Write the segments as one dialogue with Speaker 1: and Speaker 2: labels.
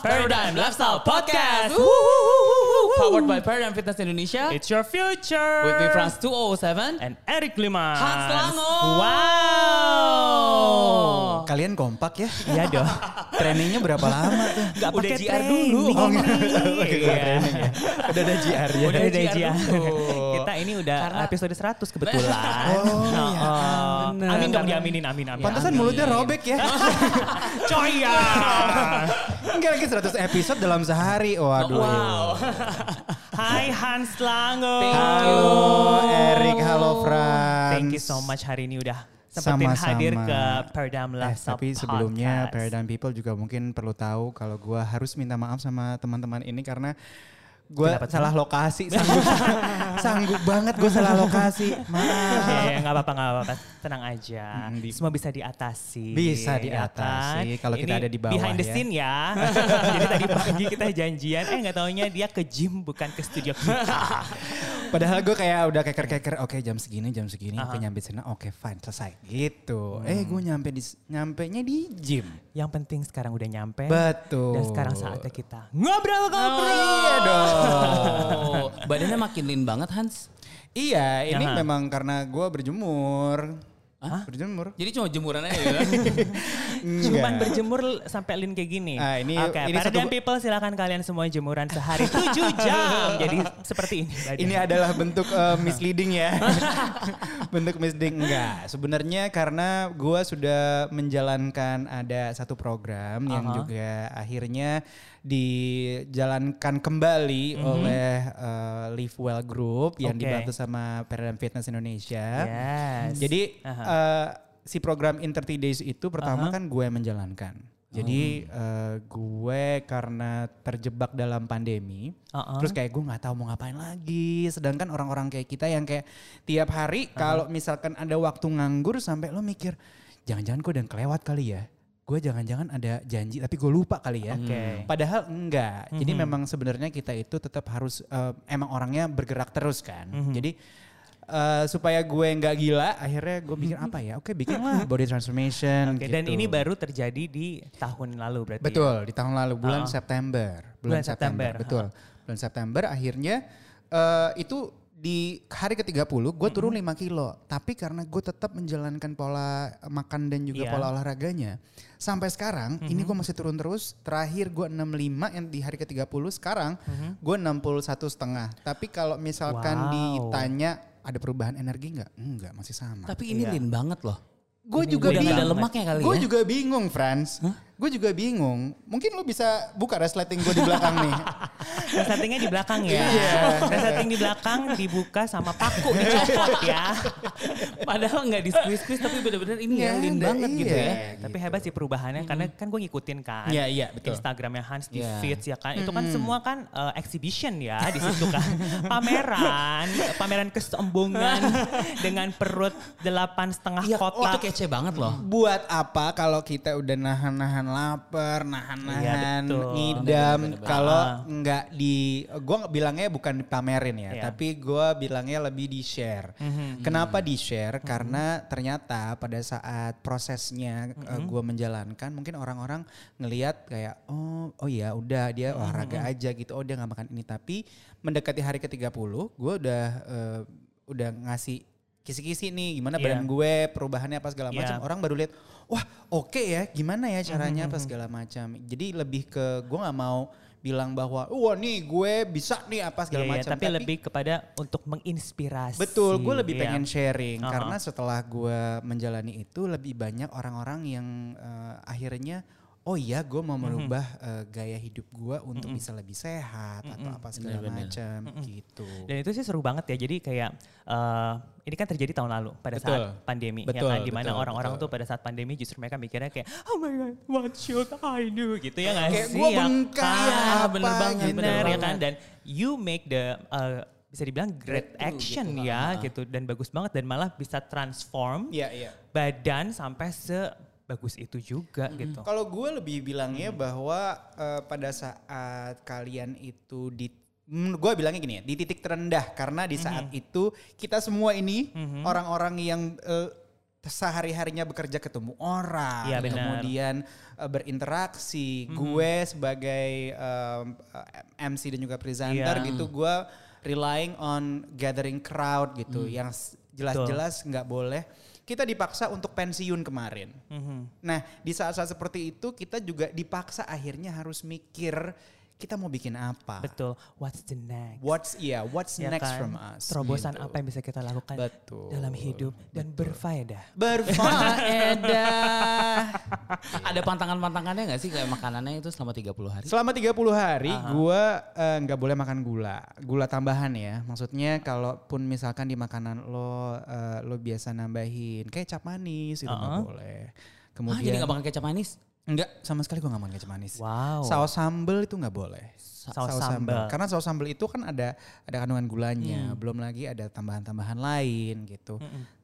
Speaker 1: Paradigm Lifestyle Podcast. Powered by Paradigm Fitness Indonesia.
Speaker 2: It's your future.
Speaker 1: With me Franz 207
Speaker 2: And Eric Lima.
Speaker 1: Hans Lango.
Speaker 2: Wow.
Speaker 3: Kalian kompak ya?
Speaker 2: Oh. Iya dong.
Speaker 3: Trainingnya berapa lama tuh?
Speaker 1: Gak
Speaker 2: Udah
Speaker 1: pakai
Speaker 2: GR
Speaker 1: training.
Speaker 2: dulu.
Speaker 3: Oh, enggak.
Speaker 2: Oke,
Speaker 3: Iya. Udah ada GR ya?
Speaker 1: Udah
Speaker 2: Udah
Speaker 1: GR
Speaker 2: Deji.
Speaker 1: dulu.
Speaker 2: Kita ini udah eh,
Speaker 1: Karena-
Speaker 2: episode 100 kebetulan.
Speaker 3: Oh, iya.
Speaker 2: Amin
Speaker 1: Bener.
Speaker 2: dong diaminin amin amin.
Speaker 3: Pantesan
Speaker 2: Amin.
Speaker 3: mulutnya robek ya?
Speaker 2: Coy ya.
Speaker 3: Enggak lagi 100 episode dalam sehari. Waduh.
Speaker 2: Oh,
Speaker 1: Wow.
Speaker 2: Hai Hans Lango.
Speaker 1: Thank
Speaker 3: Halo Erik, halo Franz.
Speaker 2: Thank you so much hari ini udah sempetin
Speaker 3: Sama-sama.
Speaker 2: hadir ke Perdam
Speaker 3: Eh,
Speaker 2: Laptop
Speaker 3: tapi sebelumnya
Speaker 2: Podcast.
Speaker 3: Paradigm People juga mungkin perlu tahu kalau gua harus minta maaf sama teman-teman ini karena gua
Speaker 2: Kenapa tuh?
Speaker 3: salah lokasi, sanggup, sanggup banget gue salah lokasi.
Speaker 2: Ya,
Speaker 3: Maaf.
Speaker 2: ya, nggak apa-apa, nggak apa-apa. Tenang aja.
Speaker 3: Hmm, di-
Speaker 2: Semua bisa diatasi.
Speaker 3: Bisa
Speaker 2: ya
Speaker 3: diatasi, kalau kita
Speaker 2: Ini
Speaker 3: ada di bawah
Speaker 2: Behind the
Speaker 3: ya.
Speaker 2: scene ya. Jadi tadi pagi kita janjian, eh nggak taunya dia ke gym bukan ke studio kita.
Speaker 3: Padahal gue kayak udah keker-keker, oke jam segini, jam segini, oke
Speaker 2: Aha. Hmm.
Speaker 3: nyampe sana, oke fine, selesai. Gitu. Eh gue nyampe di, nyampe nya di gym.
Speaker 2: Yang penting sekarang udah nyampe. Eh,
Speaker 3: Betul.
Speaker 2: Dan sekarang saatnya kita ngobrol-ngobrol.
Speaker 3: Iya
Speaker 1: dong. Badannya makin lean banget Hans.
Speaker 3: Iya, ini
Speaker 2: Aha.
Speaker 3: memang karena gue berjemur. Berjemur?
Speaker 1: Jadi cuma jemuran aja ya.
Speaker 2: Cuman
Speaker 3: Enggak.
Speaker 2: berjemur l- sampai lin kayak gini.
Speaker 3: Ah, ini-
Speaker 2: Oke,
Speaker 3: ini
Speaker 2: para
Speaker 3: satu-
Speaker 2: people silakan kalian semua jemuran sehari 7 jam. Jadi seperti ini. badan.
Speaker 3: Ini adalah bentuk eh, misleading ya. bentuk misleading enggak. Sebenarnya karena gua sudah menjalankan ada satu program yang
Speaker 2: Aha.
Speaker 3: juga akhirnya dijalankan kembali oleh eh, Live Well Group yang
Speaker 2: Mhm. Oke. Ya.
Speaker 3: dibantu sama Paradigm Fitness Indonesia.
Speaker 2: Yes.
Speaker 3: Jadi
Speaker 2: Aha.
Speaker 3: eh, si program In 30 Days itu pertama kan gue yang menjalankan. Jadi
Speaker 2: Oh.
Speaker 3: eh, gue karena terjebak dalam pandemi,
Speaker 2: Uh-uh.
Speaker 3: terus kayak gue nggak tahu mau ngapain lagi. Sedangkan orang-orang kayak kita yang kayak tiap hari kalau misalkan ada waktu nganggur sampai lo mikir, jangan-jangan gue udah kelewat kali ya. Gue jangan-jangan ada janji tapi gue lupa kali ya.
Speaker 2: Oke. Mhm.
Speaker 3: Padahal enggak. Jadi memang sebenarnya kita itu tetap harus eh, emang orangnya bergerak terus kan.
Speaker 2: Mhm.
Speaker 3: Jadi eh, supaya gue nggak gila, akhirnya gue bikin apa ya? Oke, bikinlah body transformation.
Speaker 2: Oke, Dan
Speaker 3: gitu.
Speaker 2: ini baru terjadi di tahun lalu berarti. ya?
Speaker 3: betul di tahun lalu bulan September,
Speaker 2: Bulan September, ah.
Speaker 3: betul. Bulan September akhirnya eh, itu di hari ke-30 gue turun
Speaker 2: Mm-hmm.
Speaker 3: 5 kilo, tapi karena gue tetap menjalankan pola makan dan juga
Speaker 2: Iya. Mm-hmm.
Speaker 3: pola olahraganya. Sampai sekarang ini gue masih turun terus. Terakhir gue 65 yang di hari ke-30 sekarang gue 61 setengah. Tapi kalau misalkan
Speaker 2: Mm-hmm. Wow.
Speaker 3: ditanya ada perubahan energi nggak? Enggak, masih sama.
Speaker 1: Tapi ini lean banget loh.
Speaker 3: Gue juga
Speaker 1: Udah nggak ada
Speaker 3: bingung.
Speaker 1: lemaknya kali
Speaker 3: Gue
Speaker 1: ya.
Speaker 3: juga bingung, Franz. Gue juga bingung. Mungkin lu bisa buka resleting gue di belakang nih.
Speaker 2: Resletingnya di belakang ya.
Speaker 3: Iya.
Speaker 2: Resleting di belakang dibuka sama paku dicopot ya.
Speaker 1: Padahal nggak di squeeze squeeze tapi benar-benar ini ya
Speaker 3: Iya,
Speaker 1: lean
Speaker 3: ada,
Speaker 1: banget gitu
Speaker 3: iya.
Speaker 1: ya.
Speaker 2: Tapi hebat sih perubahannya karena kan gue ngikutin kan.
Speaker 3: Iya, iya, betul.
Speaker 2: Instagramnya Hans di
Speaker 3: Iya.
Speaker 2: feeds ya kan. Itu kan semua kan eh, exhibition ya di situ kan. Pameran, pameran kesombongan dengan perut delapan setengah
Speaker 1: Iya, oh, itu
Speaker 2: kotak.
Speaker 1: kece banget loh.
Speaker 3: Buat apa kalau kita udah nahan-nahan lapar,
Speaker 2: Iya,
Speaker 3: nahan-nahan
Speaker 2: betul.
Speaker 3: ngidam
Speaker 1: Bener, bener, bener.
Speaker 3: kalau nggak di gua bilangnya bukan dipamerin ya,
Speaker 2: Iya.
Speaker 3: tapi gua bilangnya lebih di-share. Kenapa di-share? Karena ternyata pada saat prosesnya eh, gua menjalankan mungkin orang-orang ngelihat kayak oh oh ya udah dia olahraga aja gitu. Oh dia nggak makan ini tapi mendekati hari ke-30 gua udah eh, udah ngasih kisi-kisi nih gimana
Speaker 2: Iya.
Speaker 3: badan gue perubahannya apa segala
Speaker 2: Iya.
Speaker 3: macam orang baru lihat wah oke ya gimana ya caranya
Speaker 2: Hmm,
Speaker 3: apa segala macam jadi lebih ke gue nggak mau bilang bahwa wah nih gue bisa nih apa segala
Speaker 2: Iya, iya,
Speaker 3: macam
Speaker 2: tapi, lebih kepada untuk menginspirasi.
Speaker 3: betul gue lebih
Speaker 2: Iya.
Speaker 3: pengen sharing
Speaker 2: Uh-huh.
Speaker 3: karena setelah gue menjalani itu lebih banyak orang-orang yang eh, akhirnya oh iya gue
Speaker 2: Hmm,
Speaker 3: mau merubah eh, gaya hidup gue untuk bisa lebih sehat
Speaker 2: Hmm,
Speaker 3: atau apa segala
Speaker 1: Bener-bener.
Speaker 3: macam gitu
Speaker 2: Dan itu sih seru banget ya. Jadi kayak eh, ini kan terjadi tahun lalu pada
Speaker 3: Betul.
Speaker 2: saat pandemi
Speaker 3: Betul,
Speaker 2: ya kan dimana
Speaker 3: betul,
Speaker 2: orang-orang
Speaker 3: betul.
Speaker 2: tuh pada saat pandemi justru mereka mikirnya kayak oh my god what should I do gitu ya nggak
Speaker 3: Kayak
Speaker 2: sih?
Speaker 3: gua
Speaker 2: ya
Speaker 3: bengkak
Speaker 2: kan?
Speaker 3: ya,
Speaker 2: bener
Speaker 3: apa
Speaker 2: banget
Speaker 3: gitu.
Speaker 2: bener ya kan
Speaker 1: Banget.
Speaker 2: dan you make the eh, bisa dibilang great
Speaker 1: Breakthrough
Speaker 2: action
Speaker 1: gitu,
Speaker 2: ya
Speaker 1: ha-ha.
Speaker 2: gitu dan bagus banget dan malah bisa transform
Speaker 3: iya iya
Speaker 2: badan sampai sebagus itu juga gitu. Hmm.
Speaker 3: Kalau gue lebih bilangnya bahwa eh, pada saat kalian itu di gue bilangnya gini ya di
Speaker 2: Hmm.
Speaker 3: titik terendah karena di saat itu kita semua ini orang-orang yang eh, sehari-harinya bekerja ketemu orang,
Speaker 2: Iya, benar. Hmm.
Speaker 3: kemudian eh, berinteraksi. Gue sebagai em, eh, MC dan juga presenter
Speaker 2: Iya.
Speaker 3: gitu, gue relying on gathering crowd gitu,
Speaker 2: Hmm.
Speaker 3: yang s- jelas-jelas nggak boleh. Kita dipaksa untuk pensiun kemarin.
Speaker 2: Hmm.
Speaker 3: Nah, di saat-saat seperti itu kita juga dipaksa akhirnya harus mikir kita mau bikin apa.
Speaker 2: Betul. What's the next?
Speaker 3: What's yeah, what's
Speaker 2: Ya
Speaker 3: next
Speaker 2: kan?
Speaker 3: from us?
Speaker 2: Terobosan
Speaker 3: gitu.
Speaker 2: apa yang bisa kita lakukan
Speaker 3: Betul.
Speaker 2: dalam hidup dan berfaedah.
Speaker 3: Berfaedah.
Speaker 1: Ada pantangan-pantangannya nggak sih kayak makanannya itu selama 30 hari?
Speaker 3: Selama 30 hari gua eh, nggak boleh makan gula. Gula tambahan ya. Maksudnya kalaupun misalkan di makanan lo eh, lo biasa nambahin kecap manis itu nggak boleh.
Speaker 1: Ah,
Speaker 3: Kemudian
Speaker 1: jadi nggak makan kecap manis?
Speaker 3: enggak sama sekali gua nggak makan kecap manis.
Speaker 2: Wow.
Speaker 3: Saus sambel itu nggak boleh. Sa-
Speaker 2: Saus sambel.
Speaker 3: Karena saus sambel itu kan ada ada kandungan gulanya,
Speaker 2: Hmm.
Speaker 3: belum lagi ada tambahan-tambahan lain gitu.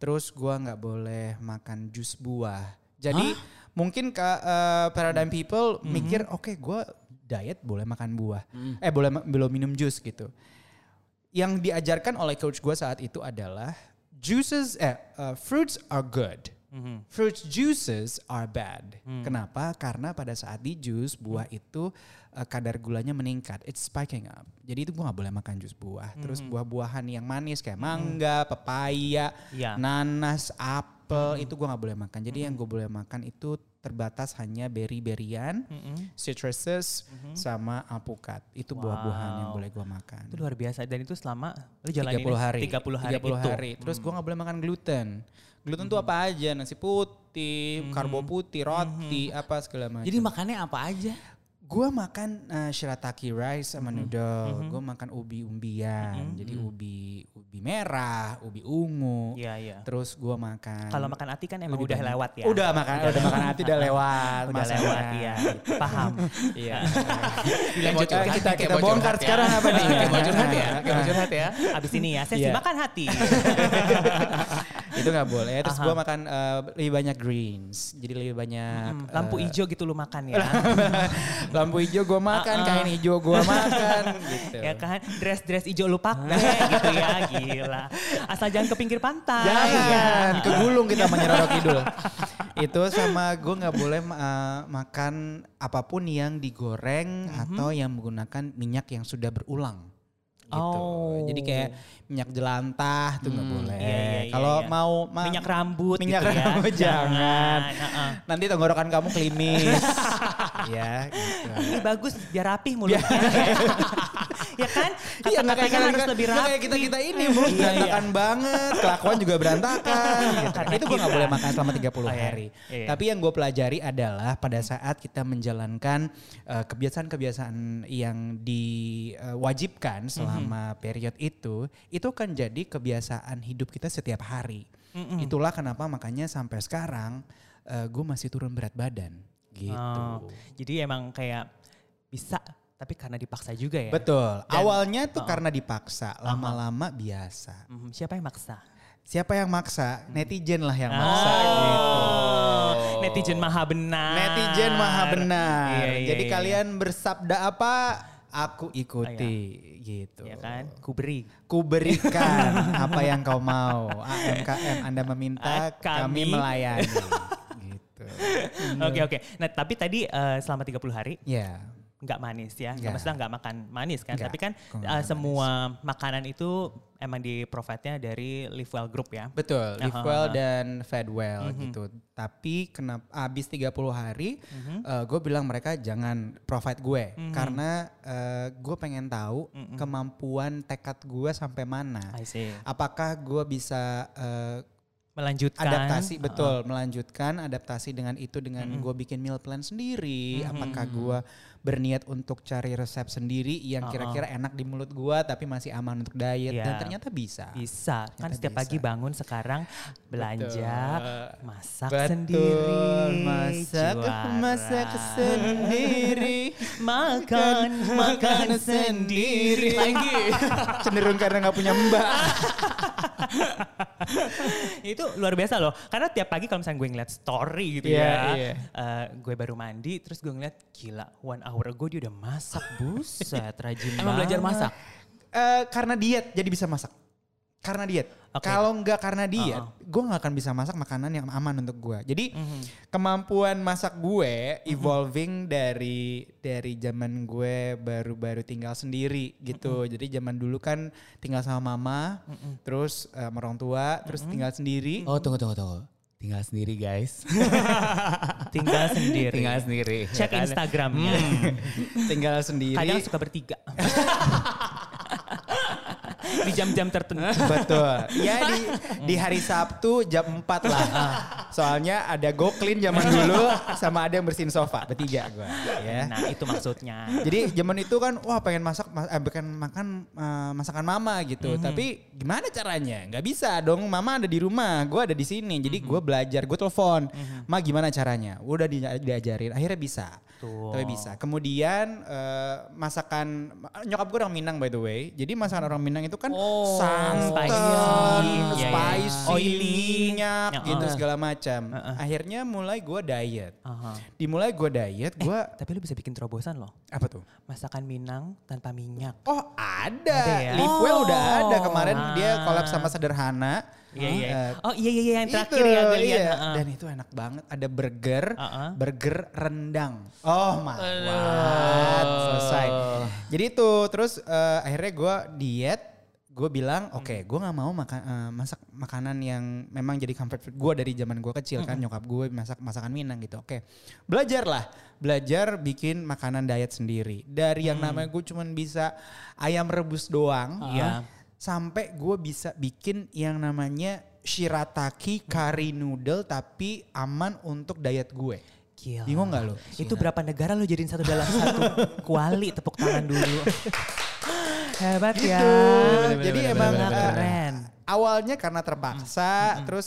Speaker 3: Terus gua nggak boleh makan jus buah. Jadi mungkin ke eh, paradigm people
Speaker 2: Hmm.
Speaker 3: mikir oke gua diet boleh makan buah. Eh boleh ma- belum minum jus gitu. Yang diajarkan oleh coach gua saat itu adalah juices eh eh, fruits are good. Fruits juices are bad. Kenapa? Karena pada saat di jus buah itu eh, kadar gulanya meningkat. It's spiking up. Jadi itu gua nggak boleh makan jus buah. Terus buah-buahan yang manis kayak mangga, pepaya,
Speaker 2: Iya.
Speaker 3: nanas, apel itu gua nggak boleh makan. Jadi yang gue boleh makan itu terbatas hanya berry-berian, citruses, sama alpukat. Itu buah-buahan yang boleh gua makan.
Speaker 2: Itu luar biasa dan itu selama lu jalanin
Speaker 3: 30 hari.
Speaker 2: 30 hari gitu. Hmm.
Speaker 3: 30
Speaker 2: itu.
Speaker 3: hari. Terus gua nggak boleh makan gluten. Gluten tuh apa aja? Nasi
Speaker 2: Hmm.
Speaker 3: putih, karbo putih, roti, apa segala macam.
Speaker 1: Jadi makannya apa aja?
Speaker 3: gua makan uh, shirataki rice sama
Speaker 2: Hmm.
Speaker 3: noodle. Gua makan ubi-umbian. Jadi ubi ubi merah, ubi ungu.
Speaker 2: Iya, iya.
Speaker 3: Terus gua makan
Speaker 2: Kalau makan ati kan emang udah lewat ya.
Speaker 3: Udah makan, udah, makan hati udah lewat.
Speaker 2: udah
Speaker 3: masanya.
Speaker 2: lewat ya. Paham. Iya.
Speaker 1: Dilanjut
Speaker 3: Oke, kita kita bongkar sekarang apa nih?
Speaker 1: Kayak bocor hati ya? Kayak
Speaker 3: Nah,
Speaker 1: bocor hati ya?
Speaker 2: Abis ini ya, saya
Speaker 3: Iya.
Speaker 2: makan hati.
Speaker 3: itu nggak boleh. Terus gua makan uh, lebih banyak greens. Jadi lebih
Speaker 2: Hmm,
Speaker 3: banyak
Speaker 2: Lampu
Speaker 3: uh,
Speaker 2: hijau gitu lu makan ya.
Speaker 3: Lampu hijau gue makan, kain hijau gue makan gitu.
Speaker 2: Ah, ya kan dress-dress hijau lu pakai gitu ya gila asal jangan ke pinggir pantai Iya.
Speaker 3: Jangan kegulung kita menyerorok kidul. Itu sama gue nggak boleh uh, makan apapun yang digoreng
Speaker 2: Mhm.
Speaker 3: atau yang menggunakan minyak yang sudah berulang. Gitu.
Speaker 2: Oh.
Speaker 3: Jadi kayak minyak jelantah tuh nggak boleh.
Speaker 2: iya, iya, iya,
Speaker 3: Kalau
Speaker 2: iya.
Speaker 3: mau ma-
Speaker 2: minyak rambut
Speaker 3: minyak
Speaker 2: gitu ya.
Speaker 3: rambut jangan.
Speaker 2: Heeh.
Speaker 3: Nanti tenggorokan kamu klimis. ya, gitu.
Speaker 2: Ini bagus biar rapih mulutnya. ya kan?
Speaker 3: Iya,
Speaker 2: Kata-katanya
Speaker 3: nggak kayak kalian-
Speaker 2: harus lebih
Speaker 3: nggak
Speaker 2: rapi.
Speaker 3: kayak kita kita ini mulut
Speaker 2: Iya,
Speaker 3: berantakan banget, kelakuan juga berantakan. gitu.
Speaker 2: Karena
Speaker 3: Itu gue nggak
Speaker 2: kita.
Speaker 3: boleh makan selama 30
Speaker 2: Oh, iya.
Speaker 3: hari.
Speaker 2: Iya, iya.
Speaker 3: Tapi yang gue pelajari adalah pada saat kita menjalankan eh, kebiasaan-kebiasaan yang diwajibkan
Speaker 2: Mm-hmm.
Speaker 3: selama period itu, itu kan jadi kebiasaan hidup kita setiap hari. Itulah kenapa makanya sampai sekarang gue masih turun berat badan gitu.
Speaker 2: Oh, jadi emang kayak bisa tapi karena dipaksa juga ya.
Speaker 3: Betul.
Speaker 2: Dan-
Speaker 3: Awalnya tuh karena dipaksa, lama-lama biasa.
Speaker 2: Mhm, Siapa yang maksa?
Speaker 3: Siapa yang maksa?
Speaker 2: Hmm.
Speaker 3: Netizen lah
Speaker 2: Ah.
Speaker 3: yang maksa gitu.
Speaker 2: Oh, netizen maha benar.
Speaker 3: Netizen maha benar.
Speaker 2: Iya, iya,
Speaker 3: Jadi
Speaker 2: iya.
Speaker 3: kalian bersabda apa, aku ikuti gitu.
Speaker 2: ya kan? Kuberi.
Speaker 3: Kuberikan apa yang kau mau. AMKM Anda
Speaker 2: Ah,
Speaker 3: meminta,
Speaker 2: kami.
Speaker 3: kami, melayani. gitu.
Speaker 2: Oke oke. Nah, tapi tadi eh, selama 30 hari
Speaker 3: Ya.
Speaker 2: nggak manis ya.
Speaker 3: Nggak.
Speaker 2: Maksudnya nggak makan manis kan.
Speaker 3: Nggak.
Speaker 2: Tapi kan
Speaker 3: Nggak
Speaker 2: eh,
Speaker 3: makan
Speaker 2: semua makanan itu emang di profitnya dari Live Well Group ya.
Speaker 3: Betul, live
Speaker 2: Aha,
Speaker 3: well
Speaker 2: aha. Mhm.
Speaker 3: dan fed well gitu. Tapi kenapa habis 30 hari
Speaker 2: Mhm.
Speaker 3: gue bilang mereka jangan provide gue karena gue pengen tahu
Speaker 2: Mhm.
Speaker 3: kemampuan tekad gue sampai mana.
Speaker 2: I see.
Speaker 3: Apakah gue bisa eh,
Speaker 2: Melanjutkan.
Speaker 3: adaptasi betul melanjutkan adaptasi dengan itu dengan
Speaker 2: Mhm.
Speaker 3: gue bikin meal plan sendiri apakah gue berniat untuk cari resep sendiri yang kira-kira enak di mulut gue tapi masih aman untuk diet dan
Speaker 2: Iya.
Speaker 3: ternyata bisa
Speaker 2: Bisa, kan
Speaker 3: Ternyata
Speaker 2: setiap
Speaker 3: bisa.
Speaker 2: pagi bangun sekarang belanja, masak
Speaker 3: Betul,
Speaker 2: sendiri,
Speaker 3: masak
Speaker 2: juara.
Speaker 3: masak sendiri
Speaker 2: makan, makan Kan sendiri.
Speaker 3: lagi cenderung karena nggak punya mbak
Speaker 2: Itu luar biasa loh, karena tiap pagi kalau misalnya gue ngeliat story gitu
Speaker 3: Iya,
Speaker 2: ya,
Speaker 3: iya.
Speaker 2: eh, gue baru mandi, terus gue ngeliat gila, one hour ago dia udah masak, buset, rajin
Speaker 1: Emang belajar
Speaker 2: banget.
Speaker 1: masak?
Speaker 3: Eh, karena diet jadi bisa masak karena diet.
Speaker 2: Oke.
Speaker 3: Kalau nggak karena diet, gue nggak akan bisa masak makanan yang aman untuk gue. Jadi
Speaker 2: Hmm. Mhm.
Speaker 3: kemampuan masak gue evolving dari dari zaman gue baru-baru tinggal sendiri gitu. Jadi zaman dulu kan tinggal sama mama, terus eh, sama orang tua, terus tinggal sendiri.
Speaker 1: Oh tunggu tunggu tunggu. Tinggal sendiri guys.
Speaker 2: Tinggal sendiri.
Speaker 1: Tinggal sendiri. ya
Speaker 2: Cek
Speaker 1: kan?
Speaker 2: Instagramnya.
Speaker 3: tinggal sendiri.
Speaker 2: Kadang suka bertiga. Di jam-jam tertentu.
Speaker 3: Betul. Ah. Ya di, di hari Sabtu jam 4 lah. Soalnya ada go clean zaman dulu sama ada yang bersihin sofa bertiga gua ya.
Speaker 2: Nah itu maksudnya.
Speaker 3: Jadi zaman itu kan wah pengen masak ma- eh, pengen makan eh, masakan mama gitu.
Speaker 2: Mhm.
Speaker 3: Tapi gimana caranya? Nggak bisa dong. Mama ada di rumah, gua ada di sini. Jadi gua
Speaker 2: Mhm.
Speaker 3: belajar, gue telepon. Ma gimana caranya? Udah di- diajarin, akhirnya bisa.
Speaker 2: Tuh.
Speaker 3: Tapi bisa. Kemudian eh, masakan nyokap gue orang Minang by the way. Jadi masakan orang Minang itu kan
Speaker 1: Oh,
Speaker 3: santan,
Speaker 2: spicy.
Speaker 3: spicy,
Speaker 2: Iya, iya. Oily.
Speaker 3: minyak
Speaker 2: Ya,
Speaker 3: gitu
Speaker 2: uh.
Speaker 3: segala macam. Akhirnya mulai gua diet.
Speaker 2: Aha.
Speaker 3: Dimulai gua diet, gua
Speaker 2: Tapi lu bisa bikin terobosan loh.
Speaker 3: apa tuh?
Speaker 2: Masakan Minang tanpa minyak.
Speaker 3: Oh ada,
Speaker 2: Ada ya?
Speaker 3: Live Well udah ada kemarin
Speaker 2: Ah.
Speaker 3: dia collab sama Sederhana.
Speaker 2: Iya iya.
Speaker 3: Eh,
Speaker 2: Oh iya iya iya, yang terakhir
Speaker 3: itu,
Speaker 2: ya gue lihat.
Speaker 3: iya.
Speaker 2: Heeh.
Speaker 3: Dan itu enak banget. Ada burger,
Speaker 2: Heeh.
Speaker 3: burger rendang. Oh my god, selesai. Jadi itu terus eh, akhirnya gue diet. Gue bilang
Speaker 2: Hmm.
Speaker 3: oke, gue nggak mau makan eh, masak makanan yang memang jadi comfort food gue dari zaman gue kecil
Speaker 2: Hmm.
Speaker 3: kan nyokap gue masak masakan Minang gitu. Oke, belajarlah, belajar bikin makanan diet sendiri. Dari
Speaker 2: Hmm.
Speaker 3: yang namanya gue cuman bisa ayam rebus doang,
Speaker 2: Iya.
Speaker 3: sampai gue bisa bikin yang namanya shirataki curry noodle tapi aman untuk diet gue.
Speaker 2: Gila.
Speaker 3: Bingung nggak lo?
Speaker 2: Itu berapa negara lo jadiin satu dalam satu kuali tepuk tangan dulu. Hebat ya. Jadi
Speaker 3: Bener-bener, Jadi
Speaker 2: emang
Speaker 3: bener-bener, emang, bener-bener.
Speaker 2: keren.
Speaker 3: Awalnya karena
Speaker 2: Hmm.
Speaker 3: terpaksa, terus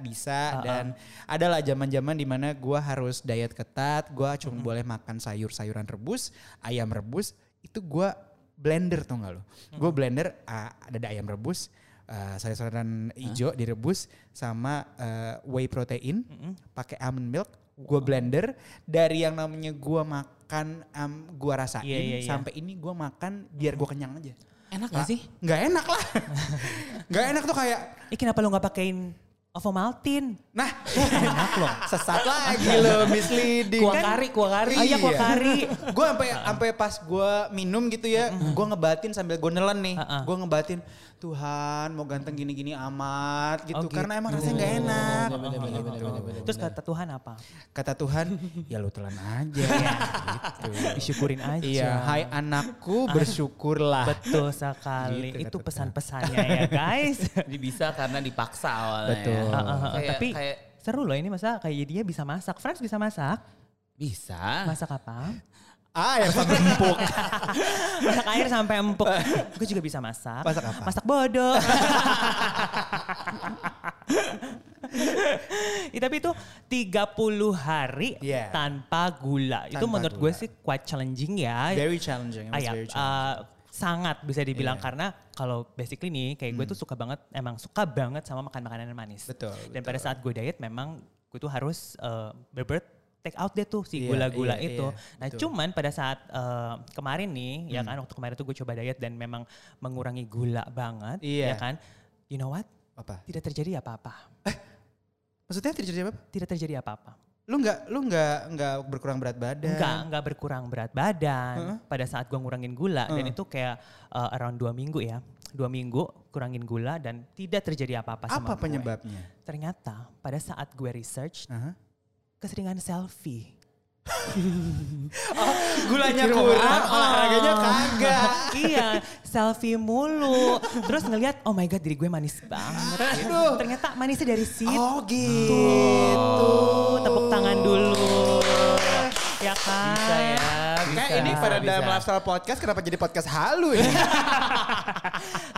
Speaker 2: Ah,
Speaker 3: bisa dan adalah zaman-zaman dimana gue harus diet ketat, gue
Speaker 2: Hmm.
Speaker 3: cuma boleh makan sayur-sayuran rebus, ayam rebus, itu gue blender tau gak lo?
Speaker 2: Hmm.
Speaker 3: Gue blender ah, ada ayam rebus, ah, sayur-sayuran hijau direbus sama eh, whey protein,
Speaker 2: Hmm,
Speaker 3: pakai almond milk, gue blender dari yang namanya gue makan, em, gue rasain
Speaker 2: Iya, iya, iya.
Speaker 3: sampai ini gue makan biar gue kenyang aja.
Speaker 1: Enak gak sih?
Speaker 3: Nggak enak lah. Nggak enak tuh kayak,
Speaker 2: Eh kenapa lo nggak pakein ovomaltin?
Speaker 3: nah enak loh. Sesat lagi lo, misleading. Kan
Speaker 1: Kuah kari, kuah kari.
Speaker 2: Ah, iya, kuah kari.
Speaker 3: Gue sampai sampai pas gue minum gitu ya, gue ngebatin sambil gue nelen nih.
Speaker 2: Uh-uh.
Speaker 3: Gue ngebatin, Tuhan mau ganteng gini-gini amat gitu.
Speaker 2: Oh, gitu.
Speaker 3: Karena emang rasanya nggak enak. Oh, gitu.
Speaker 2: Terus kata Tuhan apa?
Speaker 3: Kata Tuhan, ya lu telan aja. gitu.
Speaker 2: Disyukurin aja.
Speaker 3: Iya, hai anakku bersyukurlah.
Speaker 2: Betul sekali. itu
Speaker 3: Gitu kata Tuhan.
Speaker 2: pesan-pesannya ya guys.
Speaker 1: Jadi bisa karena dipaksa awalnya.
Speaker 3: Betul.
Speaker 1: ya.
Speaker 2: Ah, ah, ah.
Speaker 1: Kayak-
Speaker 2: Tapi
Speaker 1: kayak
Speaker 2: seru loh ini masa kayak dia bisa masak. Franz bisa masak.
Speaker 1: bisa.
Speaker 2: Masak apa?
Speaker 3: Ah, yang sampai empuk.
Speaker 2: Masak air sampai empuk. Gue juga bisa masak.
Speaker 3: Masak apa?
Speaker 2: Masak bodoh. Ya, tapi itu 30 hari
Speaker 3: Yeah.
Speaker 2: tanpa gula. itu
Speaker 3: Iya. Tanpa
Speaker 2: menurut gue
Speaker 3: gula.
Speaker 2: sih quite challenging ya.
Speaker 3: Very challenging. it was
Speaker 2: Ah, ya,
Speaker 3: very challenging.
Speaker 2: uh, sangat bisa dibilang
Speaker 3: Iya. Hmm.
Speaker 2: karena kalau basically nih kayak gue tuh suka banget emang suka banget sama makan makanan yang manis.
Speaker 3: Betul,
Speaker 2: Dan pada saat gue diet memang gue tuh harus uh, bener-bener take out deh tuh si
Speaker 3: Iya,
Speaker 2: gula-gula
Speaker 3: iya,
Speaker 2: itu.
Speaker 3: iya,
Speaker 2: nah
Speaker 3: betul. Hmm.
Speaker 2: cuman pada saat uh, kemarin nih ya kan waktu kemarin tuh gue coba diet dan memang mengurangi gula banget
Speaker 3: Iya.
Speaker 2: ya kan. You know what?
Speaker 3: Apa?
Speaker 2: Tidak terjadi apa-apa.
Speaker 3: Maksudnya terjadi apa?
Speaker 2: Tidak terjadi apa-apa.
Speaker 3: Lu nggak lu nggak nggak berkurang berat badan?
Speaker 2: Enggak, enggak berkurang berat badan pada saat gua ngurangin gula dan itu kayak uh, around dua minggu ya. Dua minggu kurangin gula dan tidak terjadi apa-apa sama
Speaker 3: Apa
Speaker 2: gue.
Speaker 3: penyebabnya?
Speaker 2: Ternyata pada saat gue research
Speaker 3: Aha.
Speaker 2: keseringan selfie.
Speaker 3: Oh, Gulanya
Speaker 2: Kira-
Speaker 3: kurang,
Speaker 2: Ah, ah.
Speaker 3: olahraganya kagak.
Speaker 2: iya, selfie mulu. Terus ngelihat oh my god diri gue manis banget. gitu.
Speaker 3: Aduh.
Speaker 2: Ternyata manisnya dari situ.
Speaker 3: Oh gitu.
Speaker 2: Tepuk tangan dulu. Ya kan?
Speaker 1: Bisa ya. Bisa.
Speaker 3: Kayak ini pada dalam lifestyle podcast kenapa jadi podcast halu ya?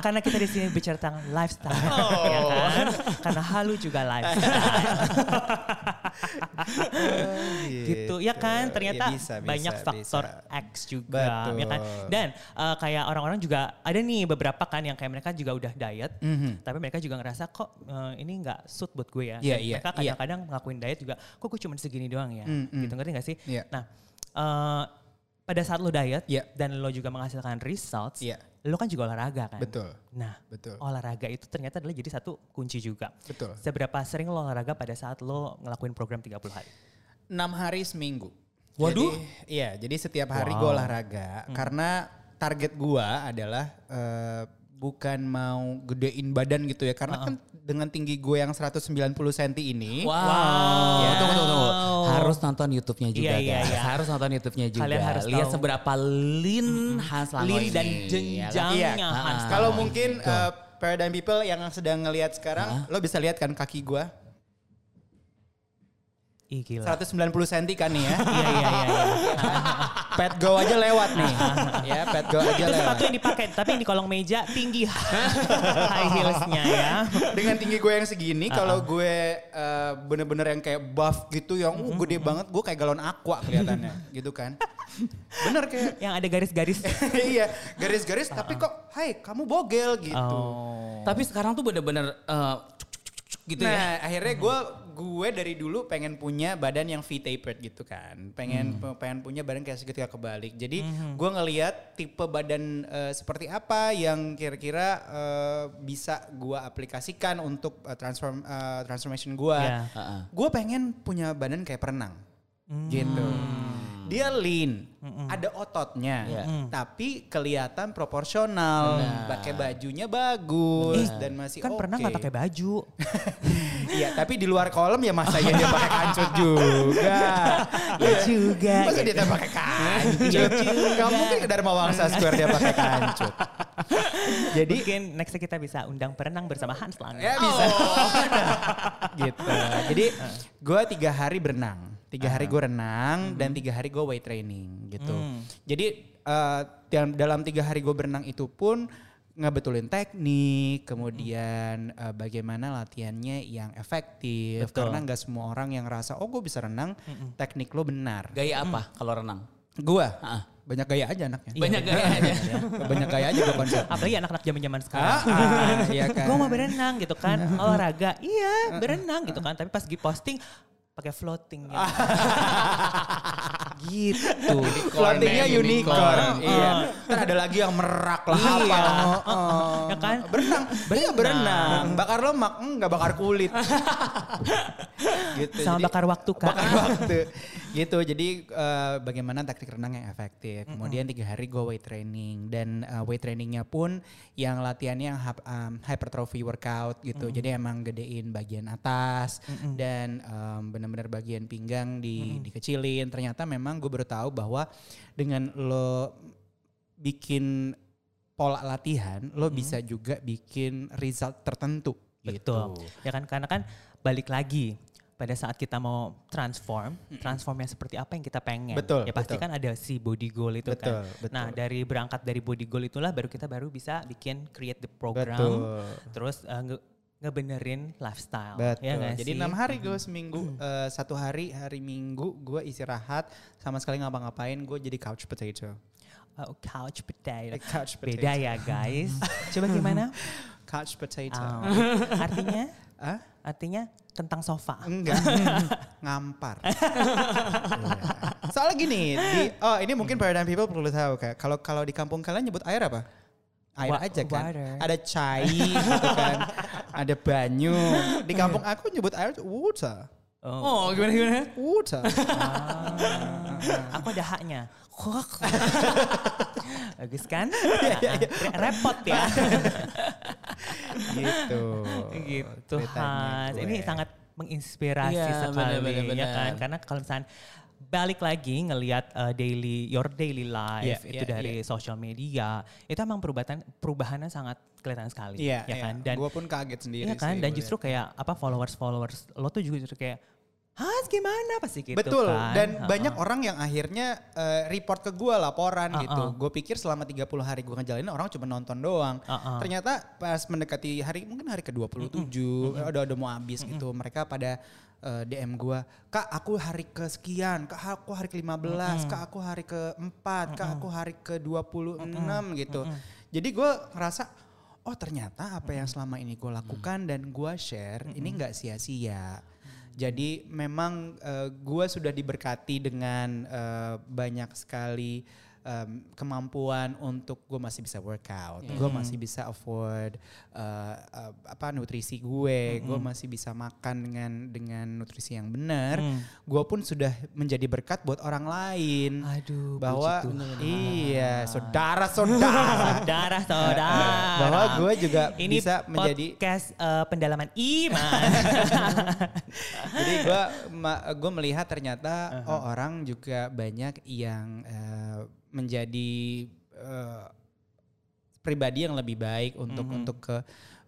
Speaker 2: Karena kita di sini bicara tentang lifestyle,
Speaker 3: Oh.
Speaker 2: ya kan? Karena halu juga lifestyle, gitu ya
Speaker 3: Iya,
Speaker 2: kan? Ternyata banyak faktor X juga, ya kan?
Speaker 3: Betul.
Speaker 2: Dan eh, kayak orang-orang juga ada nih beberapa kan yang kayak mereka juga udah diet,
Speaker 3: Mhm.
Speaker 2: tapi mereka juga ngerasa kok eh, ini nggak suit buat gue ya.
Speaker 3: Iya,
Speaker 2: Dan
Speaker 3: iya, Hmm,
Speaker 2: mereka
Speaker 3: iya.
Speaker 2: kadang-kadang ngelakuin diet juga, kok gue cuma segini doang ya,
Speaker 3: Mm, mm.
Speaker 2: gitu ngerti gak sih?
Speaker 3: Iya.
Speaker 2: Nah, eh, pada saat lo diet
Speaker 3: Iya.
Speaker 2: dan lo juga menghasilkan results,
Speaker 3: Iya.
Speaker 2: lo kan juga olahraga kan?
Speaker 3: Betul.
Speaker 2: Nah,
Speaker 3: Betul.
Speaker 2: olahraga itu ternyata adalah jadi satu kunci juga.
Speaker 3: Betul.
Speaker 2: Seberapa sering lo olahraga pada saat lo ngelakuin program 30 hari?
Speaker 3: 6 hari seminggu.
Speaker 2: Waduh.
Speaker 3: Jadi, iya, jadi setiap hari
Speaker 2: Wow. Mhm.
Speaker 3: gue olahraga karena target gua adalah eh, bukan mau gedein badan gitu ya karena kan dengan tinggi gue yang 190 cm ini
Speaker 1: Wow. Tunggu, tunggu, tunggu. Harus nonton YouTube-nya juga,
Speaker 2: Iya, iya,
Speaker 1: guys.
Speaker 2: iya.
Speaker 1: Harus nonton YouTube-nya juga.
Speaker 2: Kalian harus
Speaker 1: Lihat
Speaker 2: tahu.
Speaker 1: seberapa lean Hans Lango
Speaker 2: Lili
Speaker 1: ini.
Speaker 2: dan
Speaker 1: ya kan?
Speaker 2: jenjangnya
Speaker 3: Iya.
Speaker 2: Hans.
Speaker 1: Ah.
Speaker 3: Kalau mungkin eh, Paradigm People yang sedang ngelihat sekarang, lo bisa lihat kan kaki gue
Speaker 2: Ih, gila.
Speaker 3: 190 cm kan nih ya.
Speaker 2: Iya, iya, iya. iya.
Speaker 3: pet go aja lewat nih. ya, pet go aja
Speaker 2: Itu
Speaker 3: lewat.
Speaker 2: sepatu yang dipakai, tapi yang di kolong meja tinggi high heelsnya ya.
Speaker 3: dengan tinggi gue yang segini kalau gue eh, bener-bener yang kayak buff gitu yang uh, gede banget gue kayak galon aqua kelihatannya gitu kan bener kayak
Speaker 2: Yang ada garis-garis.
Speaker 3: iya garis-garis tapi kok hai kamu bogel gitu
Speaker 2: Oh.
Speaker 1: Tapi sekarang tuh bener-bener eh, cuk, cuk, cuk, cuk, cuk gitu ya.
Speaker 3: nah akhirnya gue gue dari dulu pengen punya badan yang V tapered gitu kan
Speaker 2: Hmm.
Speaker 3: pengen pengen punya badan kayak segitiga kebalik jadi gue ngelihat tipe badan eh, seperti apa yang kira-kira eh, bisa gue aplikasikan untuk eh, transform eh, transformation gue
Speaker 2: Iya.
Speaker 1: Heeh.
Speaker 3: gue pengen punya badan kayak perenang
Speaker 2: Hmm.
Speaker 3: gitu dia lean ada ototnya
Speaker 2: Iya.
Speaker 3: tapi kelihatan proporsional pakai bajunya bagus dan masih
Speaker 2: Kan pernah nggak pakai baju?
Speaker 3: Iya, tapi di luar kolam ya masa iya dia pakai kancut juga.
Speaker 2: Iya gitu. juga.
Speaker 3: Masa dia tak pakai kancut? Gak mungkin ke Dharma Wangsa Square dia pakai kancut.
Speaker 2: Jadi mungkin next kita bisa undang perenang bersama Hans Lange.
Speaker 3: Ya bisa. gitu. Jadi gue tiga hari berenang. Tiga hari gue renang dan
Speaker 2: Hmm.
Speaker 3: tiga hari gue weight training gitu. Jadi eh, dalam, dalam tiga hari gue berenang itu pun ngebetulin teknik, kemudian eh, bagaimana latihannya yang efektif.
Speaker 2: Hmm. Betul.
Speaker 3: Karena nggak semua orang yang ngerasa oh gue bisa renang, teknik lo benar.
Speaker 1: Gaya apa kalau renang?
Speaker 3: Gua
Speaker 1: Ah.
Speaker 3: banyak gaya aja anaknya. Iya,
Speaker 1: Banyak gaya aja.
Speaker 3: banyak gaya aja gue konsep.
Speaker 2: Apalagi anak-anak zaman-zaman sekarang.
Speaker 3: Ah, ah, iya kan.
Speaker 2: Gue mau berenang gitu kan, olahraga,
Speaker 3: Ah,
Speaker 2: iya berenang gitu kan. Tapi pas di posting pakai floating gitu.
Speaker 3: Ah,
Speaker 2: gitu.
Speaker 3: Floatingnya
Speaker 1: Unicorn,
Speaker 3: eh,
Speaker 1: unicorn.
Speaker 3: unicorn. Iya. Ntar ada lagi yang merak lah
Speaker 2: Iya.
Speaker 3: apa.
Speaker 2: Ya kan?
Speaker 3: Berenang. Iya berenang. Bakar lemak, enggak bakar kulit. gitu.
Speaker 2: Sama
Speaker 3: jadi-
Speaker 2: bakar waktu kan.
Speaker 3: Bakar waktu. gitu. Jadi eh, bagaimana taktik renang yang efektif. Kemudian tiga hari gue weight training dan eh, weight trainingnya pun yang latihannya yang hap- em, hypertrophy workout gitu. Jadi emang gedein bagian atas dan em, benar-benar bagian pinggang di dikecilin. Ternyata memang gue baru tahu bahwa dengan lo bikin pola latihan, lo bisa juga bikin result tertentu. gitu.
Speaker 2: Betul. Ya kan karena kan balik lagi pada saat kita mau transform, transformnya seperti apa yang kita pengen.
Speaker 3: Betul,
Speaker 2: Ya pasti
Speaker 3: betul.
Speaker 2: kan ada si body goal itu kan.
Speaker 3: Betul, betul.
Speaker 2: Nah, dari berangkat dari body goal itulah baru kita baru bisa bikin create the program.
Speaker 3: Betul.
Speaker 2: Terus eh, nge- ngebenerin lifestyle.
Speaker 3: Betul.
Speaker 2: Ya nggak
Speaker 3: Jadi
Speaker 2: sih?
Speaker 3: enam hari gue seminggu, eh, satu hari hari minggu gue istirahat sama sekali ngapa-ngapain gue jadi couch potato.
Speaker 2: Oh, couch potato.
Speaker 3: Eh, couch potato.
Speaker 2: Beda ya, guys. Coba gimana?
Speaker 3: Couch potato.
Speaker 2: Oh, artinya
Speaker 3: Hah?
Speaker 2: artinya kentang sofa.
Speaker 3: Enggak. Ngampar. Iya. Soalnya gini, di, oh ini mungkin Paradigm People perlu tahu kayak kalau kalau di kampung kalian nyebut air apa? Air
Speaker 2: Wa-
Speaker 3: aja kan.
Speaker 2: water.
Speaker 3: Ada chai gitu kan. Ada banyu. Di kampung
Speaker 2: Iya.
Speaker 3: aku nyebut air tuh water.
Speaker 1: Oh, gimana gimana?
Speaker 3: Water. Ah.
Speaker 2: Aku ada haknya. Kok. Bagus kan?
Speaker 3: Iya,
Speaker 2: Re- Repot ya.
Speaker 3: gitu.
Speaker 2: gitu.
Speaker 3: Ceritanya
Speaker 2: Hans.
Speaker 3: gue.
Speaker 2: Ini sangat menginspirasi
Speaker 1: Iya,
Speaker 2: sekali
Speaker 1: bener-bener,
Speaker 2: ya
Speaker 1: bener.
Speaker 2: kan. Karena kalau misalnya balik lagi ngelihat uh, daily your daily life
Speaker 3: Iya,
Speaker 2: itu
Speaker 3: iya,
Speaker 2: dari social media itu emang perubahan perubahannya sangat kelihatan sekali
Speaker 3: Iya,
Speaker 2: ya kan dan
Speaker 3: gue pun kaget sendiri.
Speaker 2: Iya kan,
Speaker 3: sih
Speaker 2: dan
Speaker 3: gua
Speaker 2: justru kayak apa followers followers lo tuh juga justru kayak Hans gimana pasti gitu
Speaker 3: Betul.
Speaker 2: kan.
Speaker 3: Dan
Speaker 2: Ha-ha.
Speaker 3: banyak orang yang akhirnya eh, report ke gue laporan
Speaker 2: Uh-uh.
Speaker 3: gitu. Gue pikir selama 30 hari gue ngejalanin orang cuma nonton doang.
Speaker 2: Uh-uh.
Speaker 3: Ternyata pas mendekati hari mungkin hari ke-27 udah udah mau habis gitu. Mereka pada eh, DM gue, "Kak, aku hari kesekian, Kak, aku hari ke-15, Kak, aku hari ke-4, Kak, aku hari ke-26" gitu. Jadi gue ngerasa Oh ternyata apa yang selama ini gue lakukan dan gue share ini nggak sia-sia. Jadi memang eh, gua sudah diberkati dengan eh, banyak sekali em, kemampuan untuk gue masih bisa workout,
Speaker 2: Iya.
Speaker 3: gue
Speaker 2: Hmm.
Speaker 3: masih bisa afford eh, eh, apa nutrisi
Speaker 2: Hmm.
Speaker 3: gue, gue masih bisa makan dengan dengan nutrisi yang benar,
Speaker 2: Hmm.
Speaker 3: gue pun sudah menjadi berkat buat orang lain.
Speaker 2: Aduh, puji
Speaker 3: bahwa
Speaker 2: Tuhan.
Speaker 3: iya saudara-saudara
Speaker 2: Saudara-saudara.
Speaker 3: bahwa gue juga
Speaker 2: Ini
Speaker 3: bisa menjadi
Speaker 2: podcast eh, pendalaman iman.
Speaker 3: Jadi gue gue melihat ternyata oh orang juga banyak yang eh, menjadi eh, pribadi yang lebih baik untuk untuk ke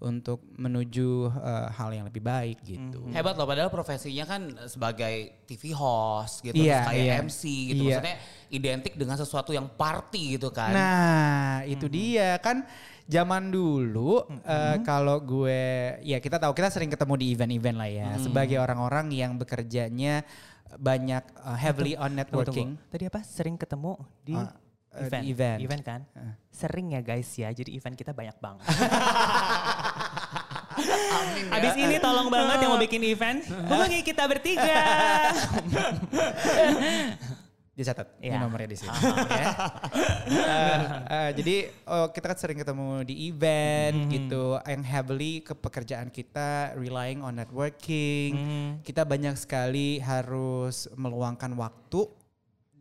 Speaker 3: untuk menuju eh, hal yang lebih baik gitu.
Speaker 1: Hebat loh padahal profesinya kan sebagai TV host gitu terus
Speaker 3: Iya,
Speaker 1: kayak
Speaker 3: iya.
Speaker 1: MC gitu.
Speaker 3: Iya.
Speaker 1: Maksudnya identik dengan sesuatu yang party gitu kan.
Speaker 3: Nah, itu dia kan zaman dulu eh, kalau gue ya kita tahu kita sering ketemu di event-event lah ya sebagai orang-orang yang bekerjanya banyak eh, heavily on
Speaker 2: Tunggu,
Speaker 3: networking.
Speaker 2: tunggu. Tadi apa? Sering ketemu di
Speaker 3: Ah, eh, di
Speaker 2: event.
Speaker 3: event. Ah.
Speaker 2: kan? Sering ya guys ya. Jadi event kita banyak banget. Abis ini tolong banget yang mau bikin event. Hubungi kita bertiga. Ya,
Speaker 3: dicatat ini
Speaker 2: Iya.
Speaker 3: nomornya di sini ya. Eh, eh, jadi oh, kita kan sering ketemu di event gitu yang heavily ke pekerjaan kita relying on networking kita banyak sekali harus meluangkan waktu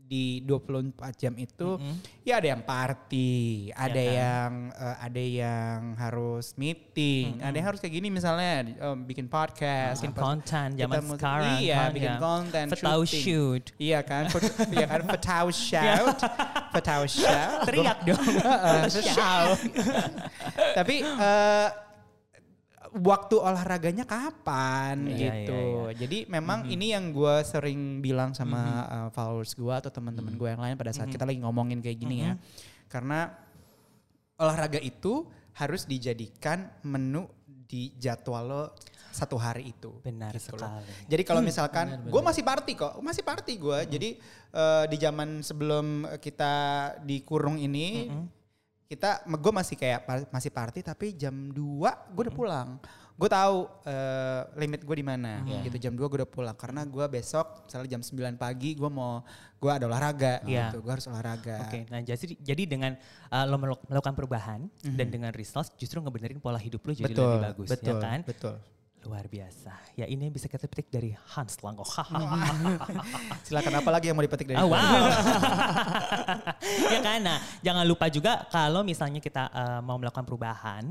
Speaker 3: di 24 jam itu ya ada yang party, ada yang eh, ada yang harus meeting, ada yang harus kayak gini misalnya eh, bikin podcast,
Speaker 2: bikin
Speaker 3: apa-
Speaker 2: konten zaman
Speaker 3: kita mau-
Speaker 2: sekarang.
Speaker 3: Iya,
Speaker 2: kan
Speaker 3: bikin
Speaker 2: ya.
Speaker 3: konten,
Speaker 2: Fetau
Speaker 3: shooting.
Speaker 2: shoot.
Speaker 3: Iya kan, Fut- iya kan, Fatau shout, Fatau shout.
Speaker 2: Teriak dong.
Speaker 3: Heeh, terus- Tapi eh, waktu olahraganya kapan
Speaker 2: Iya,
Speaker 3: gitu.
Speaker 2: iya,
Speaker 3: Jadi memang ini yang gue sering bilang sama
Speaker 2: Mm-hmm.
Speaker 3: eh, followers gue atau teman-teman gue yang lain pada saat kita lagi ngomongin kayak gini ya.
Speaker 2: Mm-hmm.
Speaker 3: Karena olahraga itu harus dijadikan menu di jadwal lo satu hari itu.
Speaker 2: Benar
Speaker 3: Gitu loh.
Speaker 2: sekali.
Speaker 3: Jadi kalau misalkan gue masih party kok, masih party gue.
Speaker 2: Hmm.
Speaker 3: Jadi eh, di zaman sebelum kita dikurung ini,
Speaker 2: Hmm.
Speaker 3: kita gue masih kayak par- masih party tapi jam 2 gue udah
Speaker 2: Hmm.
Speaker 3: pulang. Gue tahu eh, limit gue di mana.
Speaker 2: Hmm.
Speaker 3: Gitu jam 2 gue udah pulang karena gue besok misalnya jam 9 pagi gue mau gue ada olahraga
Speaker 2: Iya.
Speaker 3: gitu. Gue harus olahraga.
Speaker 2: Oke, nah jadi jadi dengan uh, lo melu- melakukan perubahan dan dengan results justru ngebenerin pola hidup lo jadi
Speaker 3: Mhm. Betul,
Speaker 2: lebih bagus,
Speaker 3: betul,
Speaker 2: ya kan?
Speaker 3: betul.
Speaker 2: Luar biasa. Ya ini yang bisa kita petik dari Hans Lango.
Speaker 3: Ah, Silakan apa lagi yang mau dipetik dari
Speaker 2: Ah,
Speaker 3: lu?
Speaker 2: wow. ya kan? Nah, jangan lupa juga kalau misalnya kita eh, mau melakukan perubahan,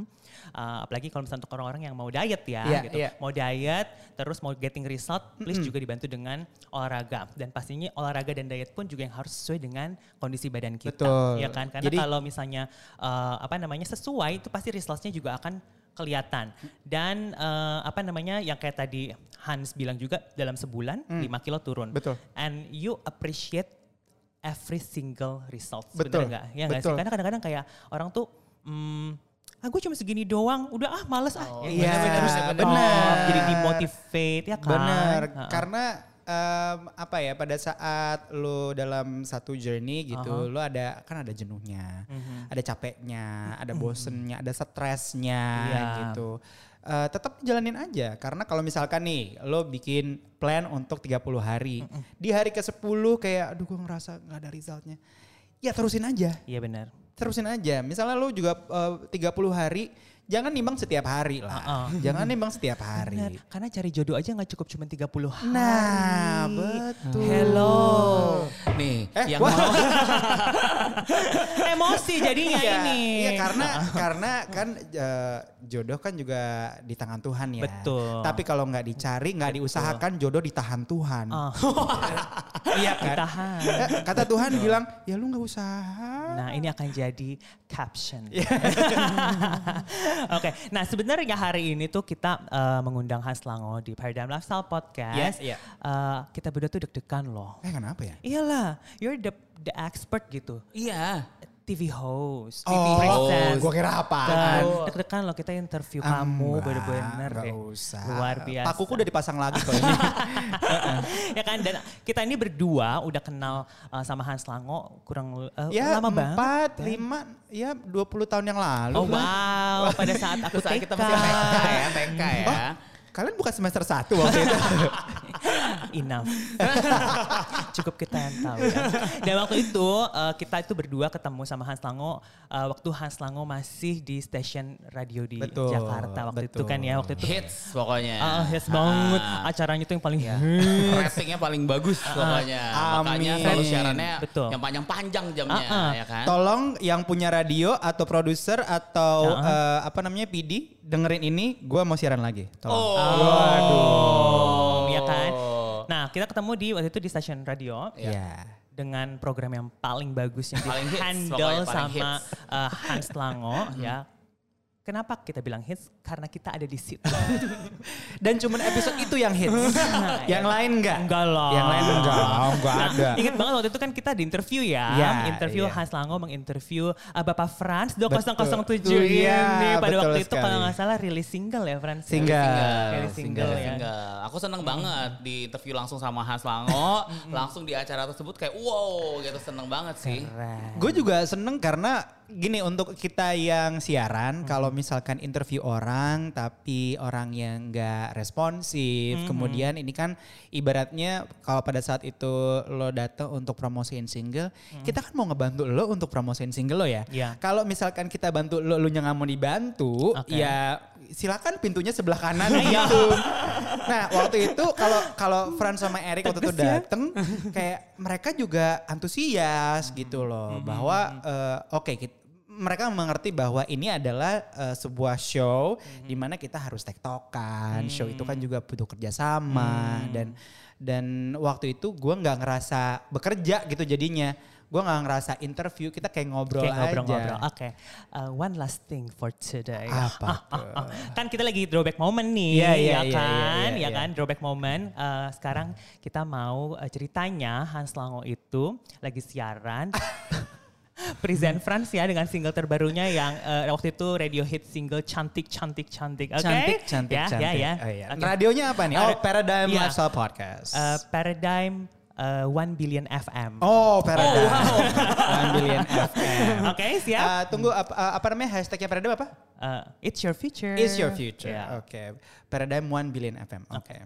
Speaker 2: eh, apalagi kalau misalnya untuk orang-orang yang mau diet ya,
Speaker 3: Iya,
Speaker 2: gitu.
Speaker 3: iya.
Speaker 2: Mau diet, terus mau getting result, please juga dibantu dengan olahraga. Dan pastinya olahraga dan diet pun juga yang harus sesuai dengan kondisi badan kita.
Speaker 3: Betul.
Speaker 2: Ya kan? Karena
Speaker 3: Jadi-
Speaker 2: kalau misalnya eh, apa namanya sesuai, itu pasti resultsnya juga akan kelihatan dan eh, apa namanya yang kayak tadi Hans bilang juga dalam sebulan
Speaker 3: Mm.
Speaker 2: 5 kilo turun
Speaker 3: Betul.
Speaker 2: and you appreciate every single result
Speaker 3: Betul.
Speaker 2: sebenarnya nggak ya nggak sih
Speaker 3: Betul.
Speaker 2: karena kadang-kadang kayak orang tuh hmm, ah gue cuma segini doang udah ah males ah Ya,
Speaker 3: iya,
Speaker 2: bener, bener, bener. Oh,
Speaker 3: bener.
Speaker 2: jadi demotivate ya kan
Speaker 3: Benar,
Speaker 2: Ah,
Speaker 3: karena em, apa ya pada saat lu dalam satu journey gitu, lu ada kan ada jenuhnya, ada capeknya, ada bosennya, ada stresnya
Speaker 2: Iya.
Speaker 3: gitu. Eh, tetap jalanin aja karena kalau misalkan nih lo bikin plan untuk 30 hari, di hari ke-10 kayak aduh gue ngerasa nggak ada resultnya. Ya terusin aja
Speaker 2: iya benar
Speaker 3: terusin aja. Misalnya lu juga eh, tiga 30 hari, jangan nimbang setiap hari lah. Jangan nimbang setiap
Speaker 2: Benar,
Speaker 3: hari.
Speaker 2: karena cari jodoh aja nggak cukup cuma 30 hari
Speaker 3: Nah, betul.
Speaker 2: hello
Speaker 1: Nih,
Speaker 3: Eh,
Speaker 1: yang
Speaker 3: wah.
Speaker 1: mau
Speaker 2: emosi jadinya
Speaker 3: Iya,
Speaker 2: ini
Speaker 3: iya, karena karena kan eh, jodoh kan juga di tangan Tuhan ya.
Speaker 2: Betul.
Speaker 3: Tapi kalau nggak dicari, nggak diusahakan jodoh ditahan Tuhan.
Speaker 2: Ah.
Speaker 3: Iya kan?
Speaker 2: ditahan.
Speaker 3: Eh, Kata Tuhan bilang, "Ya lu nggak usaha."
Speaker 2: Nah, ini akan jadi caption. Oke, nah sebenarnya hari ini tuh kita eh, mengundang Hans Lango di Paradigm Lifestyle Podcast.
Speaker 3: Iya, iya.
Speaker 2: Eh, kita berdua tuh deg-degan loh.
Speaker 3: Eh, kenapa ya?
Speaker 2: Iyalah, you're the the expert gitu.
Speaker 1: iya.
Speaker 2: TV host, TV
Speaker 3: Oh,
Speaker 2: presenter.
Speaker 3: gue kira
Speaker 2: Kan,
Speaker 3: apaan.
Speaker 2: deg-degan loh kita interview kamu
Speaker 3: Ah, Enggak,
Speaker 2: bener-bener
Speaker 3: nggak
Speaker 2: deh.
Speaker 3: usah.
Speaker 2: Luar biasa.
Speaker 3: Pakuku udah dipasang lagi kok ini.
Speaker 2: ya kan dan kita ini berdua udah kenal eh, sama Hans Lango kurang eh,
Speaker 3: ya,
Speaker 2: lama banget.
Speaker 3: empat, lima, ya 20 tahun yang lalu.
Speaker 2: Oh
Speaker 3: lah.
Speaker 2: wow, pada saat aku
Speaker 1: Terus
Speaker 2: TK.
Speaker 1: kita masih TK ya, TK ya.
Speaker 3: Kalian bukan semester satu waktu itu.
Speaker 2: enough. Cukup kita yang tahu ya. Dan waktu itu eh, kita itu berdua ketemu sama Hans Lango eh, waktu Hans Lango masih di stasiun radio di
Speaker 3: Betul,
Speaker 2: Jakarta waktu itu
Speaker 3: betul.
Speaker 2: kan ya waktu itu.
Speaker 1: Hits pokoknya.
Speaker 2: Ah, yes banget.
Speaker 1: Ah.
Speaker 2: Acaranya tuh yang paling
Speaker 1: Ratingnya paling bagus pokoknya. Makanya
Speaker 3: amin.
Speaker 1: selalu siarannya
Speaker 2: Betul.
Speaker 1: yang panjang-panjang jamnya
Speaker 2: Ah, ah.
Speaker 1: ya kan.
Speaker 3: Tolong yang punya radio atau produser atau
Speaker 2: Ya.
Speaker 3: eh, apa namanya PD dengerin ini, gue mau siaran lagi. Tolong. Ah,
Speaker 2: Waduh. Ya kan?
Speaker 1: Oh.
Speaker 2: Nah, kita ketemu di waktu itu di stasiun radio
Speaker 3: Ya.
Speaker 2: dengan program yang paling bagus yang
Speaker 1: Paling hits,
Speaker 2: handle
Speaker 1: pokoknya paling
Speaker 2: sama
Speaker 1: hits. Hmm.
Speaker 2: eh, Hans Lango ya. Kenapa kita bilang hits? Karena kita ada di situ.
Speaker 3: Dan cuman episode itu yang hits. yang lain enggak?
Speaker 2: Enggak lah.
Speaker 3: Yang lain enggak. Oh, enggak ada.
Speaker 2: Ingat banget waktu itu kan kita di interview ya.
Speaker 3: Ya,
Speaker 2: interview
Speaker 3: iya.
Speaker 2: Hans Lango menginterview uh, Bapak Frans 2007
Speaker 3: Betul.
Speaker 2: ini.
Speaker 3: Iya,
Speaker 2: Pada
Speaker 3: betul
Speaker 2: waktu itu
Speaker 3: sekali.
Speaker 2: kalau nggak salah rilis single ya Frans.
Speaker 3: Single.
Speaker 2: Rilis single,
Speaker 1: Dari
Speaker 2: ya.
Speaker 1: single. Aku seneng banget di interview langsung sama Hans Lango, langsung di acara tersebut kayak wow gitu seneng banget sih.
Speaker 2: Keren.
Speaker 3: Gue juga seneng karena gini untuk kita yang siaran kalau misalkan interview orang tapi orang yang nggak responsif kemudian ini kan ibaratnya kalau pada saat itu lo datang untuk promosiin single kita kan mau ngebantu lo untuk promosiin single lo ya
Speaker 2: Iya.
Speaker 3: kalau misalkan kita bantu lo lo nya nggak mau dibantu
Speaker 2: Oke. Iya.
Speaker 3: ya silakan pintunya sebelah kanan gitu nah waktu itu kalau kalau Fran sama Eric waktu itu
Speaker 2: ya.
Speaker 3: dateng kayak mereka juga antusias gitu loh bahwa eh, oke kit- mereka mengerti bahwa ini adalah eh, sebuah show di mana kita harus tektokan show itu kan juga butuh kerjasama dan dan waktu itu gue nggak ngerasa bekerja gitu jadinya gue nggak ngerasa interview kita kayak ngobrol
Speaker 2: Oke,
Speaker 3: aja
Speaker 2: ngobrol-ngobrol. Oke, Uh, one last thing for today.
Speaker 3: Apa
Speaker 2: Ah, ah, ah. Kan kita lagi throwback moment nih,
Speaker 3: Iya, iya,
Speaker 2: ya
Speaker 3: iya,
Speaker 2: kan?
Speaker 3: iya, iya,
Speaker 2: ya kan, throwback moment. Uh, sekarang kita mau uh, ceritanya Hans Lango itu lagi siaran. Present France ya dengan single terbarunya yang uh, waktu itu radio hit single cantik cantik cantik, oke?
Speaker 3: Cantik, cantik,
Speaker 2: ya,
Speaker 3: cantik.
Speaker 2: Ya, ya.
Speaker 3: Oh, iya.
Speaker 2: Oke.
Speaker 3: Radionya apa nih? Oh,
Speaker 2: Ada-
Speaker 3: Paradigm
Speaker 2: Iya.
Speaker 3: Lifestyle Podcast.
Speaker 2: Uh, Paradigm uh, One Billion FM.
Speaker 3: oh, Paradigm. One Billion FM.
Speaker 2: Oke, siap?
Speaker 3: Eh, tunggu, apa, eh, apa namanya hashtagnya Paradigm apa?
Speaker 2: Uh, it's your future.
Speaker 3: Is your future.
Speaker 2: Ya.
Speaker 3: Oke. Paradigm One Billion FM. Oke.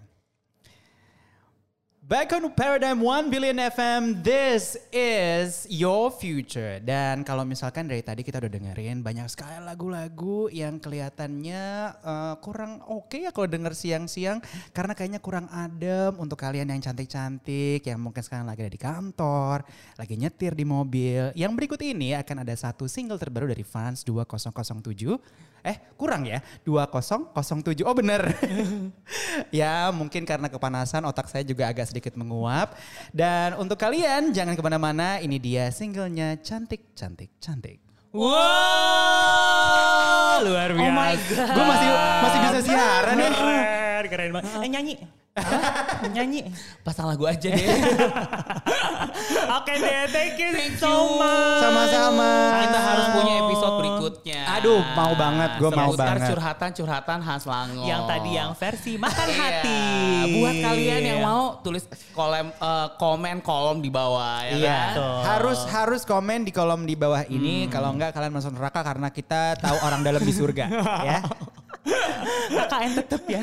Speaker 3: Back on Paradigm One Billion FM, this is your future. Dan kalau misalkan dari tadi kita udah dengerin banyak sekali lagu-lagu yang kelihatannya eh, kurang oke ya kalau denger siang-siang. Karena kayaknya kurang adem untuk kalian yang cantik-cantik, yang mungkin sekarang lagi ada di kantor, lagi nyetir di mobil. Yang berikut ini akan ada satu single terbaru dari Fans 2007 Eh kurang ya 2007 Oh bener Ya mungkin karena kepanasan otak saya juga agak sedikit menguap Dan untuk kalian jangan kemana-mana Ini dia singlenya Cantik Cantik Cantik
Speaker 2: Wow, luar biasa.
Speaker 3: Oh my God. Gua masih- masih bisa siaran ya.
Speaker 2: Keren, keren banget. Eh, nyanyi. Hah? nyanyi.
Speaker 1: Pasang lagu aja deh.
Speaker 2: Oke deh, thank you so much.
Speaker 3: Sama-sama
Speaker 1: Kita harus punya episode berikutnya.
Speaker 3: Aduh, mau banget, gua mau
Speaker 1: Seputar
Speaker 3: banget.
Speaker 1: curhatan-curhatan Hans Lango.
Speaker 2: Yang tadi yang versi makan
Speaker 1: Oh. Iya.
Speaker 2: hati. Iya.
Speaker 1: Buat kalian yang mau tulis kolom eh, komen kolom di bawah ya
Speaker 3: Iya,
Speaker 1: kan?
Speaker 2: Betul.
Speaker 3: harus harus komen di kolom di bawah
Speaker 1: Hmm.
Speaker 3: ini kalau enggak kalian masuk neraka karena kita tahu orang dalam di surga ya.
Speaker 2: KKN tetep ya.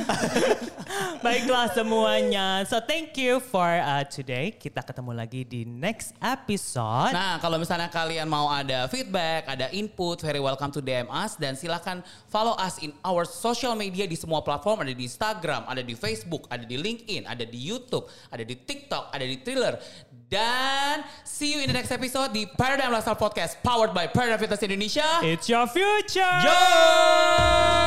Speaker 2: Baiklah semuanya. So thank you for uh, today. Kita ketemu lagi di next episode.
Speaker 1: Nah, kalau misalnya kalian mau ada feedback, ada input, very welcome to DM us dan silakan follow us in our social media di semua platform, ada di Instagram, ada di Facebook, ada di LinkedIn, ada di YouTube, ada di TikTok, ada di Thriller. Dan see you in the next episode di Paradigm Lifestyle Podcast powered by Paradigm Fitness Indonesia.
Speaker 2: It's your future.
Speaker 1: Yo!